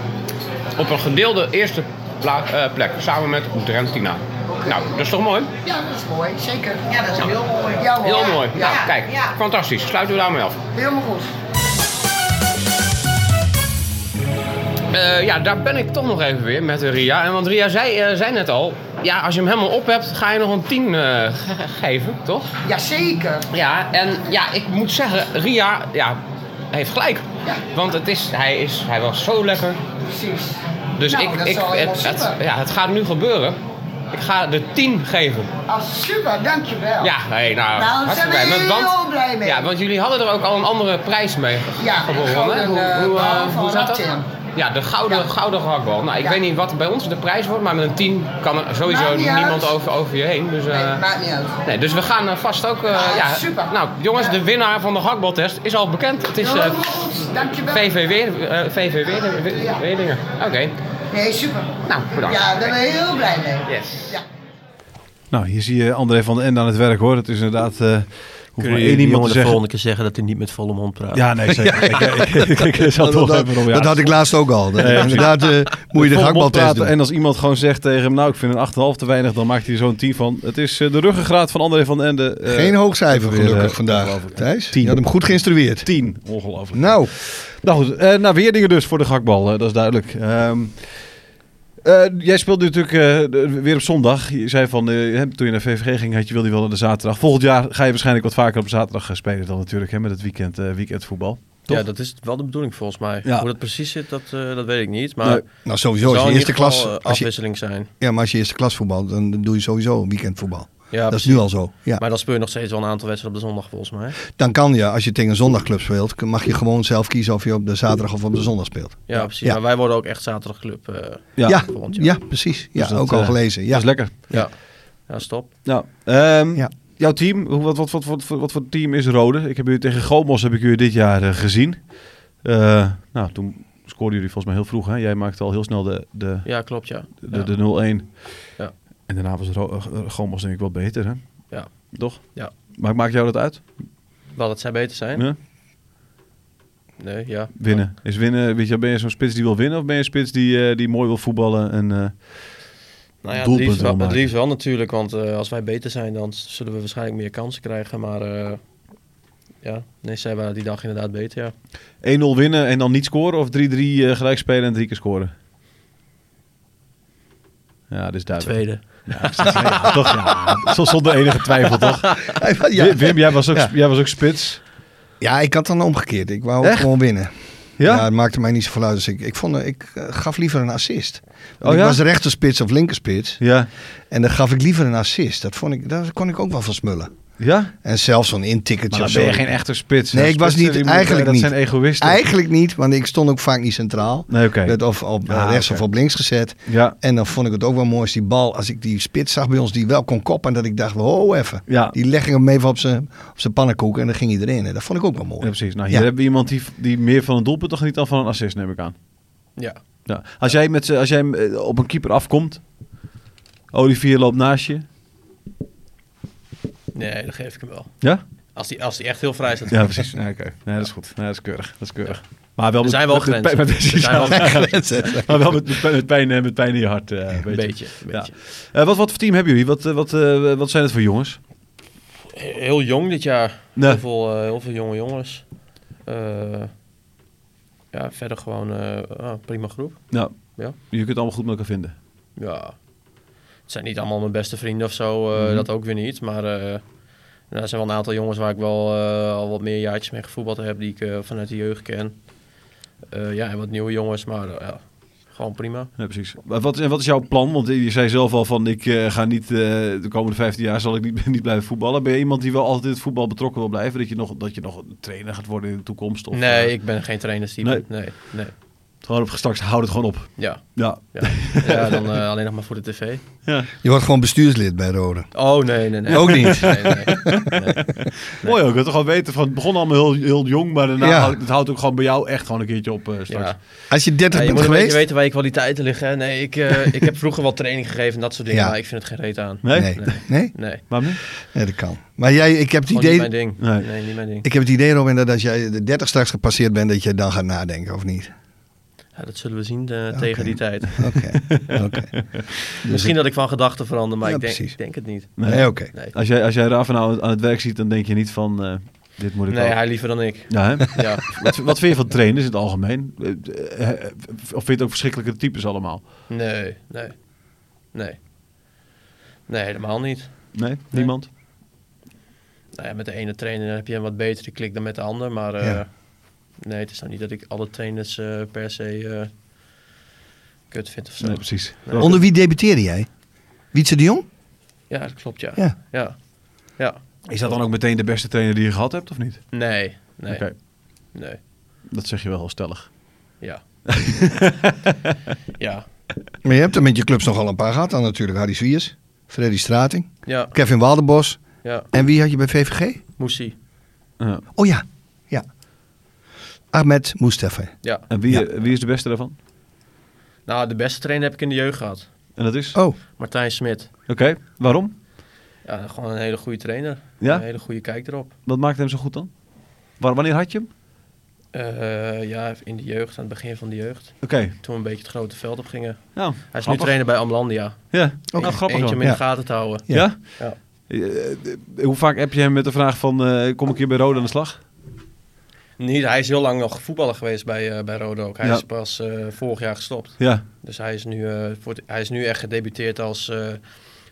S6: Op een gedeelde eerste pla- eh, plek, samen met Drentina. Nou, dat is toch mooi?
S7: Ja, dat is mooi, zeker. Ja, dat is heel mooi.
S6: Heel mooi.
S7: Ja,
S6: nou, kijk,
S7: Ja,
S6: fantastisch. Sluiten we daarmee af.
S7: helemaal goed.
S6: Eh, ja, daar ben ik toch nog even weer met eh, Ria. En want Ria zei, eh, zei net al, ja, als je hem helemaal op hebt, ga je nog een 10 eh, ge- ge- geven, toch?
S7: Jazeker.
S6: Ja, en ja, ik moet zeggen, Ria ja, heeft gelijk.
S7: Ja.
S6: Want het is, hij, is, hij was zo lekker.
S7: Precies.
S6: Dus
S7: Nou,
S6: ik,
S7: dat
S6: ik,
S7: zal helemaal
S6: het, het-
S7: super.
S6: ja, het gaat nu gebeuren. Ik ga de 10 geven.
S7: Ah, super, dankjewel.
S6: Ja, hey, nou,
S7: Nou, daar
S6: hartstikke
S7: zijn we
S6: blij.
S7: heel blij mee.
S6: Ja, want jullie hadden er ook al een andere prijs mee ge-
S7: Ja,
S6: gewonnen.
S7: een gouden,
S6: hè? hoe,
S7: eh,
S6: hoe, eh,
S7: bal van
S6: hoe zat dat?
S7: Raptim.
S6: Ja, de gouden,
S7: Ja.
S6: gouden gehaktbal. Nou, ik
S7: Ja.
S6: weet niet wat bij ons de prijs wordt, maar met een 10 kan er sowieso
S7: Maakt niet
S6: niemand
S7: uit.
S6: over, over je heen. Dus, eh,
S7: Nee, maakt niet uit.
S6: Nee, dus we gaan eh, vast ook. eh,
S7: Ah,
S6: ja,
S7: super.
S6: Nou, jongens,
S7: Ja.
S6: de winnaar van de hakbaltest is al bekend. Het is eh,
S7: Helemaal goed, dankjewel.
S6: VV Weer- eh, VV Weer- Weer-
S7: Ja.
S6: Weerdingen. Oké,
S7: Nee, super.
S6: nou bedankt.
S7: Ja, daar ben ik heel blij mee.
S6: Yes.
S7: Ja.
S2: Nou, hier zie je André van den Ende aan het werk hoor. Dat is inderdaad... eh hoeft maar
S4: Kunnen
S2: één
S4: jullie
S2: iemand
S4: jongen
S2: te zeggen.
S4: de volgende keer zeggen dat hij niet met volle mond praat?
S2: Ja, nee, zeker. Ik- ik- ik- Ik zat toch
S3: dat,
S2: even op, ja.
S3: dat had ik laatst ook al. Dat- inderdaad eh, moet je
S2: Vol
S3: de gehaktbal
S2: mond praten.
S3: testen.
S2: En als iemand gewoon zegt tegen hem, nou ik vind een 8,5 te weinig, dan maakt hij er zo'n 10 van. Het is eh, de ruggengraat van André van den Ende. eh,
S3: Geen hoog cijfer
S2: weer,
S3: gelukkig
S2: eh,
S3: vandaag,
S2: ongelooflijk.
S3: Thijs.
S2: Tien.
S3: Je had hem goed geïnstrueerd.
S2: 10. Ongelooflijk.
S3: Nou,
S2: Nou goed, eh, naar Weerdingen dus voor de gakbal, eh, dat is duidelijk. Ehm, eh, jij speelt nu natuurlijk eh, de- weer op zondag. Je zei van, eh, hè, toen je naar VVG ging, had je wilde je wel naar de zaterdag. Volgend jaar ga je waarschijnlijk wat vaker op zaterdag gaan spelen dan natuurlijk, hè, met het weekend, eh, weekendvoetbal.
S4: Ja,
S2: Toch?
S4: dat is wel de bedoeling volgens mij.
S2: Ja.
S4: Hoe dat precies zit, dat, eh, dat weet ik niet. Maar
S2: Nee.
S4: het
S3: nou sowieso.
S4: zal
S3: Als
S4: in
S3: je eerste
S4: ieder geval,
S3: klas,
S4: eh,
S3: als je,
S4: afwisseling zijn.
S3: ja, maar als je eerste klas voetbalt, dan doe je sowieso weekendvoetbal.
S4: Ja,
S3: dat is
S4: precies.
S3: nu al zo. Ja.
S4: Maar dan speel je nog steeds wel een aantal wedstrijden op de zondag volgens mij.
S3: Dan kan je, als je tegen een zondagclub speelt, mag je gewoon zelf kiezen of je op de zaterdag of op de zondag speelt.
S4: Ja, precies.
S3: Ja.
S4: Maar wij worden ook echt zaterdagclub. eh,
S3: Ja, ja,
S4: volgend jaar.
S3: precies. Ja,
S2: Dus dat,
S3: ook al
S2: eh,
S3: gelezen.
S2: Dat
S3: Ja.
S2: is lekker.
S4: ja. ja, stop.
S2: Nou, ehm,
S3: Ja.
S2: Jouw team, hoe- wat, wat, wat, wat, wat, wat voor team is Rode? Ik heb jullie tegen Gomos heb ik jullie dit jaar eh, gezien. Eh, nou, toen scoorden jullie volgens mij heel vroeg. Hè? Jij maakte al heel snel de, de,
S4: Ja, klopt, ja.
S2: de,
S4: ja.
S2: de 0-1.
S4: Ja.
S2: En daarna was Ro- eh, eh, Gomos denk ik wel beter, hè?
S4: Ja.
S2: Toch?
S4: Ja.
S2: Maar maakt jou dat uit?
S4: Wel dat zij beter zijn.
S2: Ja?
S4: Nee, ja.
S2: Winnen. Is winnen, weet je, ben je zo'n spits die wil winnen of ben je een spits die, eh, die mooi wil voetballen? En, eh,
S4: Nou ja, het
S2: Doelpunten
S4: liefst,
S2: wil
S4: wel, het
S2: maken.
S4: liefst wel natuurlijk, want eh, als wij beter zijn, dan s- zullen we waarschijnlijk meer kansen krijgen. Maar eh, ja, nee, zij waren die dag inderdaad beter,
S2: 1-0
S4: ja.
S2: winnen en dan niet scoren of 3-3 eh, gelijk spelen en drie keer scoren? Ja, dit is duidelijk.
S4: Tweede.
S2: Ja, toch, ja. Zo Zonder enige twijfel, toch?
S3: ja,
S2: Wim, Wim, jij was ook,
S3: Ja.
S2: jij was ook spits.
S3: ja, ik had dan omgekeerd. Ik wou
S2: Echt?
S3: gewoon winnen.
S2: Ja?
S3: het maakte mij niet zoveel uit. Dus ik, ik, vond, eh, ik eh, gaf liever een assist. Want
S2: Oh
S3: ik
S2: ja?
S3: was rechterspits of linkerspits.
S2: Ja.
S3: En dan gaf ik liever een assist. Dat vond ik, daar kon ik ook wel van smullen.
S2: Ja?
S3: En zelfs zo'n intikkertje
S2: Maar dan
S3: of
S2: ben
S3: zo.
S2: je geen echte spits.
S3: Nee,
S2: hè?
S3: ik was
S2: Spitsen,
S3: niet-
S2: die moeten-
S3: eigenlijk
S2: dat
S3: niet.
S2: zijn egoïsten.
S3: Eigenlijk niet, want ik stond ook vaak niet centraal.
S2: Nee, oké.
S3: Werd of op eh,
S2: Ah,
S3: rechts
S2: oké.
S3: of op links gezet.
S2: Ja.
S3: En dan vond ik het ook wel mooi als die bal, als ik die spits zag bij ons, die wel kon koppen. En dat ik dacht, wow, even.
S2: Ja.
S3: Die leg ik hem even op zijn, op zijn pannenkoek en dan ging iedereen. En dat vond ik ook wel mooi.
S2: Ja, precies. Nou, hier
S3: Ja.
S2: hebben we iemand die, die meer van een doelpunt toch niet dan van een assist, neem ik aan.
S4: Ja.
S2: Ja. Als jij, met, z'n- als jij eh, op een keeper afkomt, Olivier loopt naast je.
S4: Nee, dat geef ik hem wel.
S2: Ja?
S4: Als die, als die echt heel vrij staat.
S2: Ja, precies. Nee, oké. nee, dat is goed. Nee, dat is keurig. Dat is keurig. Maar wel
S4: Er
S2: met,
S4: zijn wel
S2: met- met,
S4: grenzen.
S2: pijn-
S4: Er zijn wel
S2: precies.
S4: grenzen.
S2: maar wel met, met, pijn- met pijn, eh, met pijn in je hart. eh, een beetje.
S4: Een beetje. een
S2: Ja.
S4: beetje.
S2: Eh, wat, wat voor team hebben jullie? Wat, eh, wat, eh, wat zijn het voor jongens?
S4: Heel jong dit jaar.
S2: Nee.
S4: Heel, veel, eh, heel veel jonge jongens. Eh, ja, verder gewoon eh, ah, prima groep.
S2: Nou,
S4: Ja.
S2: je kunt het allemaal goed met elkaar vinden.
S4: Ja. Het zijn niet allemaal mijn beste vrienden of zo. eh, Dat ook weer niet. Maar eh, nou, er zijn wel een aantal jongens waar ik wel eh, al wat meer jaartjes mee gevoetbald heb. Die ik eh, vanuit de jeugd ken. Eh, ja, en wat nieuwe jongens. Maar eh, ja, gewoon prima.
S2: Ja, precies. Maar wat, en wat is jouw plan? Want je zei zelf al van, ik eh, ga niet, eh, de komende 15 jaar zal ik niet, niet blijven voetballen. Ben je iemand die wel altijd in het voetbal betrokken wil blijven? Dat je nog, dat je nog een trainer gaat worden in de toekomst? Of,
S4: nee,
S2: eh,
S4: ik ben geen trainerstype.
S2: Nee.
S4: Nee, nee.
S2: Gewoon op gestrakt, houd het gewoon op.
S4: Ja.
S2: Ja.
S4: Ja, ja dan eh, alleen nog maar voor de tv.
S3: Je wordt gewoon bestuurslid bij Rode.
S4: Oh, nee, nee, nee.
S3: Ook niet.
S4: Nee, nee, nee.
S2: Mooi ook, dat we gewoon weten van, het begon allemaal heel, heel jong, maar daarna
S3: Ja.
S2: houdt, het houdt ook gewoon bij jou echt gewoon een keertje op eh, straks.
S4: Ja.
S3: Als je 30
S4: Ja,
S3: bent
S4: je moet een beetje
S3: geweest.
S4: weten waar je kwaliteiten liggen. hè. Nee, ik, eh, ik heb vroeger wel training gegeven en dat soort dingen,
S3: Ja.
S4: maar ik vind het geen reet aan.
S2: Nee?
S3: Nee.
S4: Nee.
S3: Nee? nee?
S4: Nee,
S2: Waarom niet?
S3: dat kan. Maar jij, ik heb het
S4: gewoon niet
S3: idee,
S4: mijn ding.
S2: Nee.
S4: Nee. niet mijn ding.
S3: ik heb het idee Robin, dat als jij de 30 straks gepasseerd bent, dat je dan gaat nadenken, of niet?
S4: Ja, dat zullen we zien eh, tegen die tijd.
S3: Oké. Oké.
S4: Misschien dat ik van gedachten verander, maar
S3: Ja,
S4: ik, denk,
S3: precies.
S4: ik denk het niet.
S2: Nee.
S3: Nee, oké.
S4: Nee,
S2: Als jij, als jij Rafa nou aan het werk ziet, dan denk je niet van, eh, dit moet ik
S4: nee
S2: ook.
S4: hij liever dan ik.
S2: Ja, hè?
S4: Ja.
S2: wat, wat vind je van trainers in het algemeen? Eh, eh, eh, Of vind je het ook verschrikkelijke types allemaal?
S4: Nee, nee, nee. Nee, helemaal niet.
S2: Nee? Niemand?
S4: Nou ja, met de ene trainer heb je een wat betere klik dan met de ander. Maar eh,
S3: Ja.
S4: nee, het is nou niet dat ik alle trainers eh, per se eh, kut vind of zo.
S2: Nee, precies.
S3: Onder wie debuteerde jij? Wietse de Jong?
S4: Ja, dat klopt, ja.
S3: Ja.
S4: ja. ja.
S2: Is dat dan ook meteen de beste trainer die je gehad hebt, of niet?
S4: Nee, nee,
S2: Oké,
S4: nee.
S2: dat zeg je wel heel stellig.
S4: Ja. ja,
S3: Maar je hebt er met je clubs nogal een paar gehad dan natuurlijk. Harry Swiers, Freddy Strating,
S4: ja,
S3: Kevin Waldenbos.
S4: ja.
S3: En wie had je bij VVG?
S4: Moesie.
S2: Ja.
S3: Oh ja, ja. Ahmed Mustafa.
S4: Ja.
S2: En wie, eh, wie is de beste daarvan?
S4: Nou, de beste trainer heb ik in de jeugd gehad.
S2: En dat is?
S3: Oh,
S4: Martijn Smit.
S2: Oké, waarom?
S4: Ja, gewoon een hele goede trainer.
S2: Ja?
S4: Een hele goede kijk erop.
S2: Wat maakt hem zo goed dan? Waar, wanneer had je hem?
S4: Eh, ja, in de jeugd, aan het begin van de jeugd.
S2: Oké,
S4: Toen we een beetje het grote veld op gingen.
S2: nou,
S4: Hij is nu
S2: grappig.
S4: trainer bij Amlandia.
S2: Ja, ook
S4: Eentje-
S2: grappig
S4: Eentje
S2: dan.
S4: om in de
S3: Ja.
S4: gaten te houden.
S2: Ja?
S4: Ja.
S2: Eh, eh, hoe vaak heb je hem met de vraag van, eh, kom ik hier bij Rode aan de slag?
S4: Niet, hij is heel lang nog voetballer geweest bij, eh bij Roda ook. Hij
S2: Ja.
S4: is pas eh, vorig jaar gestopt.
S2: Ja,
S4: Dus hij is nu, eh, voor het- hij is nu echt gedebuteerd als eh,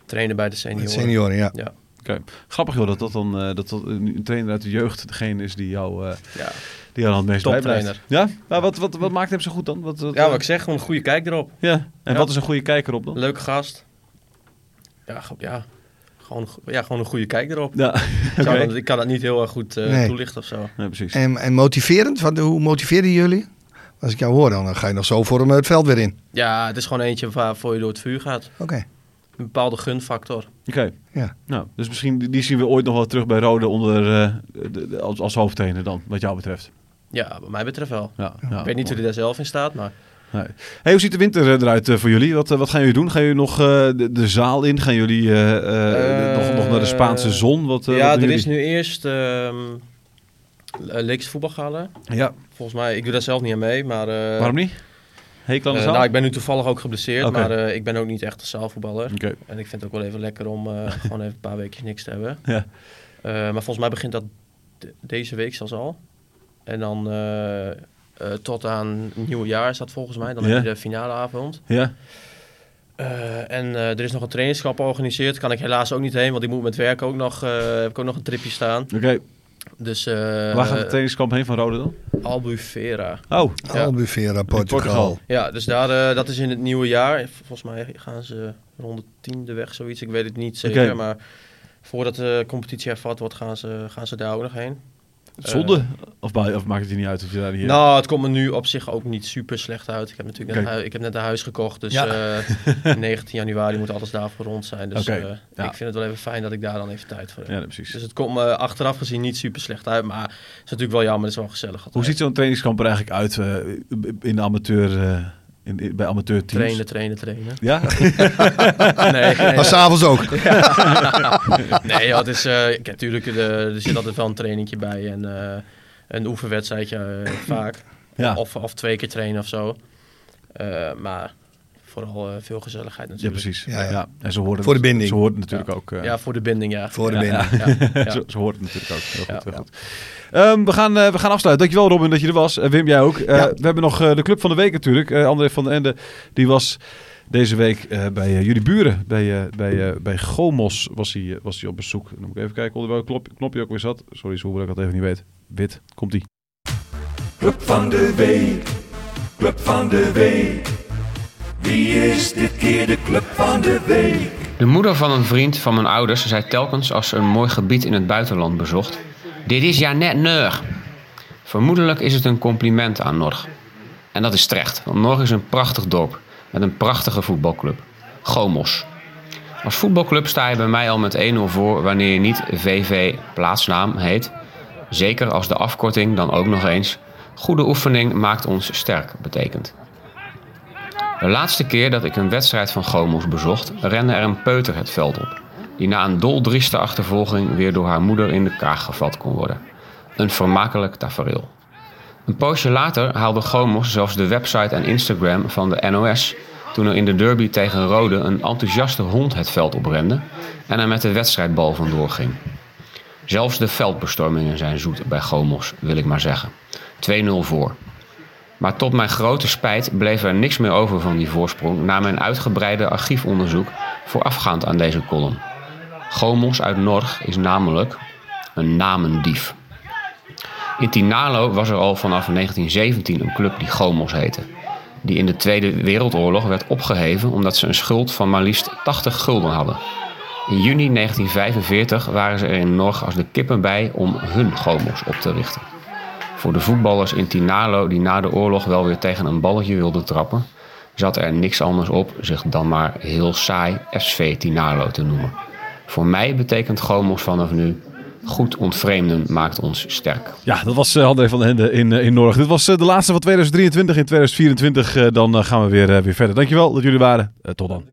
S4: trainer bij de senioren.
S3: met senioren, ja.
S4: Ja,
S2: oké. Grappig joh, dat dat dan eh, dat, dat een een trainer uit de jeugd degene is die jou, eh
S4: ja.
S2: die jou dan het meest
S4: Toptrainer.
S2: bijblijft. Ja? Maar wat, wat, wat maakt hem zo goed dan? Wat, wat-
S4: ja, wat ik zeg, gewoon een goede kijk erop.
S2: Ja, en
S4: Ja.
S2: wat is een goede kijker op dan?
S4: Leuke gast. Ja, ge- ja. Gewoon, een go- ja, gewoon een goede kijk erop.
S2: Ja,
S4: Ik, zou
S2: Oké.
S4: dat- ik kan dat niet heel erg goed eh,
S3: Nee.
S4: toelichten of zo.
S2: Nee, precies.
S3: En, en motiverend, wat, hoe motiveerden jullie? Als ik jou hoor, dan ga je nog zo voor hem het veld weer in.
S4: Ja, het is gewoon eentje waarvoor je door het vuur gaat.
S3: Oké.
S4: Een bepaalde gunfactor.
S2: Oké.
S3: Ja.
S2: Nou, dus misschien die die zien we ooit nog wel terug bij Rode onder, eh, de- de- als, als hoofdtrainer dan, wat jou betreft.
S4: Ja, wat mij betreft wel.
S2: Ja, ja.
S4: ik weet niet hoe hij daar zelf in staat, maar...
S2: Nee. Hey, hoe ziet de winter eh, eruit eh, voor jullie? Wat, eh, wat gaan jullie doen? Gaan jullie nog eh, de, de zaal in? Gaan jullie eh, eh,
S4: Eh,
S2: nog, nog naar de Spaanse zon? Wat, eh,
S4: ja,
S2: wat
S4: er
S2: doen
S4: is
S2: jullie?
S4: nu eerst ehm Leeks voetbalgala.
S2: Ja,
S4: Volgens mij, ik doe daar zelf niet aan mee, maar... eh,
S2: waarom niet? Hekel aan de
S4: eh,
S2: zaal?
S4: nou, ik ben nu toevallig ook geblesseerd,
S2: Oké.
S4: maar eh, ik ben ook niet echt een zaalvoetballer.
S2: Oké.
S4: En ik vind het ook wel even lekker om eh, gewoon even een paar weekjes niks te hebben.
S2: Ja.
S4: Eh, maar volgens mij begint dat de- deze week zelfs al. En dan eh, eh, tot aan nieuwjaar is dat volgens mij. Dan
S2: Ja.
S4: heb je de finaleavond.
S2: Ja,
S4: Eh, en eh, er is nog een trainingskamp georganiseerd. Kan ik helaas ook niet heen, want ik moet met werk ook nog, eh, heb ik ook nog een tripje staan.
S2: Oké,
S4: Dus eh
S2: waar gaat de trainingskamp heen van Rode dan?
S4: Albufeira.
S2: Oh,
S4: Ja.
S3: Albufeira, Portugal.
S2: Portugal.
S4: Ja, dus daar, eh, dat is in het nieuwe jaar. Volgens mij gaan ze rond de tiende weg, zoiets. Ik weet het niet zeker.
S2: Oké.
S4: Maar voordat de competitie hervat wordt, gaan ze, gaan ze daar ook nog heen.
S2: zonde. of, ma- of maakt het je niet uit of je daar hier...
S4: eh, Nou, het komt me nu op zich ook niet super slecht uit. Ik heb natuurlijk net,
S2: Oké.
S4: een hui- ik heb net een huis gekocht. Dus
S2: Ja.
S4: eh, 19 januari moet alles daarvoor rond zijn. Dus
S2: Oké,
S4: eh,
S2: ja.
S4: ik vind het wel even fijn dat ik daar dan even tijd voor heb.
S2: ja, nee, precies.
S4: Dus het komt me achteraf gezien niet super slecht uit. Maar het is natuurlijk wel jammer. Het is wel gezellig.
S2: Hoe
S4: altijd.
S2: ziet zo'n trainingskamp er eigenlijk uit eh, in de amateur, eh, in, in- bij amateurteams?
S4: Trainen, trainen, trainen.
S2: Ja?
S4: Nee, nee,
S3: Maar s'avonds ook.
S4: nee joh, het is, eh, ik- natuurlijk, eh, er zit altijd wel een trainingje bij en eh, een oefenwedstrijdje eh, vaak.
S2: ja.
S4: Of, of twee keer trainen of zo. Eh, maar vooral eh, veel gezelligheid
S2: ja,
S4: natuurlijk.
S2: precies. Ja,
S3: Ja, ja.
S2: En ze hoorden
S3: Voor de binding.
S2: Ze hoorden natuurlijk ook...
S4: Ja,
S2: eh,
S4: voor de binding, ja.
S3: Voor de
S4: Ja,
S3: binding.
S4: ja, ja.
S2: Zo, zo hoort het natuurlijk ook. Heel goed,
S4: Ja.
S2: heel goed. Ehm, we, gaan, eh, we gaan afsluiten. Dankjewel Robin dat je er was. Eh, Wim, jij ook. Eh, We hebben nog eh, de club van de week natuurlijk. Eh, André van den Ende, die was deze week eh, bij eh, jullie buren. Bij, eh, bij, eh, bij Gomos was hij, eh, was hij op bezoek. Dan moet ik even kijken onder welk klop- knopje ook weer zat. Sorry, zo dat ik dat even niet weet. Wit, komt ie.
S5: Club van de week, club van de week. Wie is dit keer de club van de week?
S6: De moeder van een vriend van mijn ouders zei telkens als ze een mooi gebied in het buitenland bezocht: Dit is ja net Norg. Vermoedelijk is het een compliment aan Norg. En dat is terecht, want Norg is een prachtig dorp met een prachtige voetbalclub. Gomos. Als voetbalclub sta je bij mij al met 1-0 voor wanneer je niet VV plaatsnaam heet. Zeker als de afkorting dan ook nog eens goede oefening maakt ons sterk betekent. De laatste keer dat ik een wedstrijd van Gomos bezocht, rende er een peuter het veld op. Die na een doldrieste achtervolging weer door haar moeder in de kaag gevat kon worden. Een vermakelijk tafereel. Een poosje later haalde Gomos zelfs de website en Instagram van de NOS. toen er in de derby tegen Rode een enthousiaste hond het veld oprende en er met de wedstrijdbal vandoor ging. Zelfs de veldbestormingen zijn zoet bij Gomos, wil ik maar zeggen. 2-0 voor. Maar tot mijn grote spijt bleef er niks meer over van die voorsprong na mijn uitgebreide archiefonderzoek voorafgaand aan deze column. Gomos uit Norg is namelijk een namendief. In Tinalo was er al vanaf 1917 een club die Gomos heette. Die in de Tweede Wereldoorlog werd opgeheven omdat ze een schuld van maar liefst 80 gulden hadden. In juni 1945 waren ze er in Norg als de kippen bij om hun Gomos op te richten. Voor de voetballers in Tinalo die na de oorlog wel weer tegen een balletje wilden trappen, zat er niks anders op zich dan maar heel saai SV Tinalo te noemen. Voor mij betekent Gomos vanaf nu goed ontvreemden maakt ons sterk.
S2: Ja, dat was eh, André van den Hende in, eh, in Norg. Dit was eh, de laatste van 2023. In 2024 eh, dan eh, gaan we weer, eh, weer verder. Dankjewel dat jullie waren. Eh, tot dan.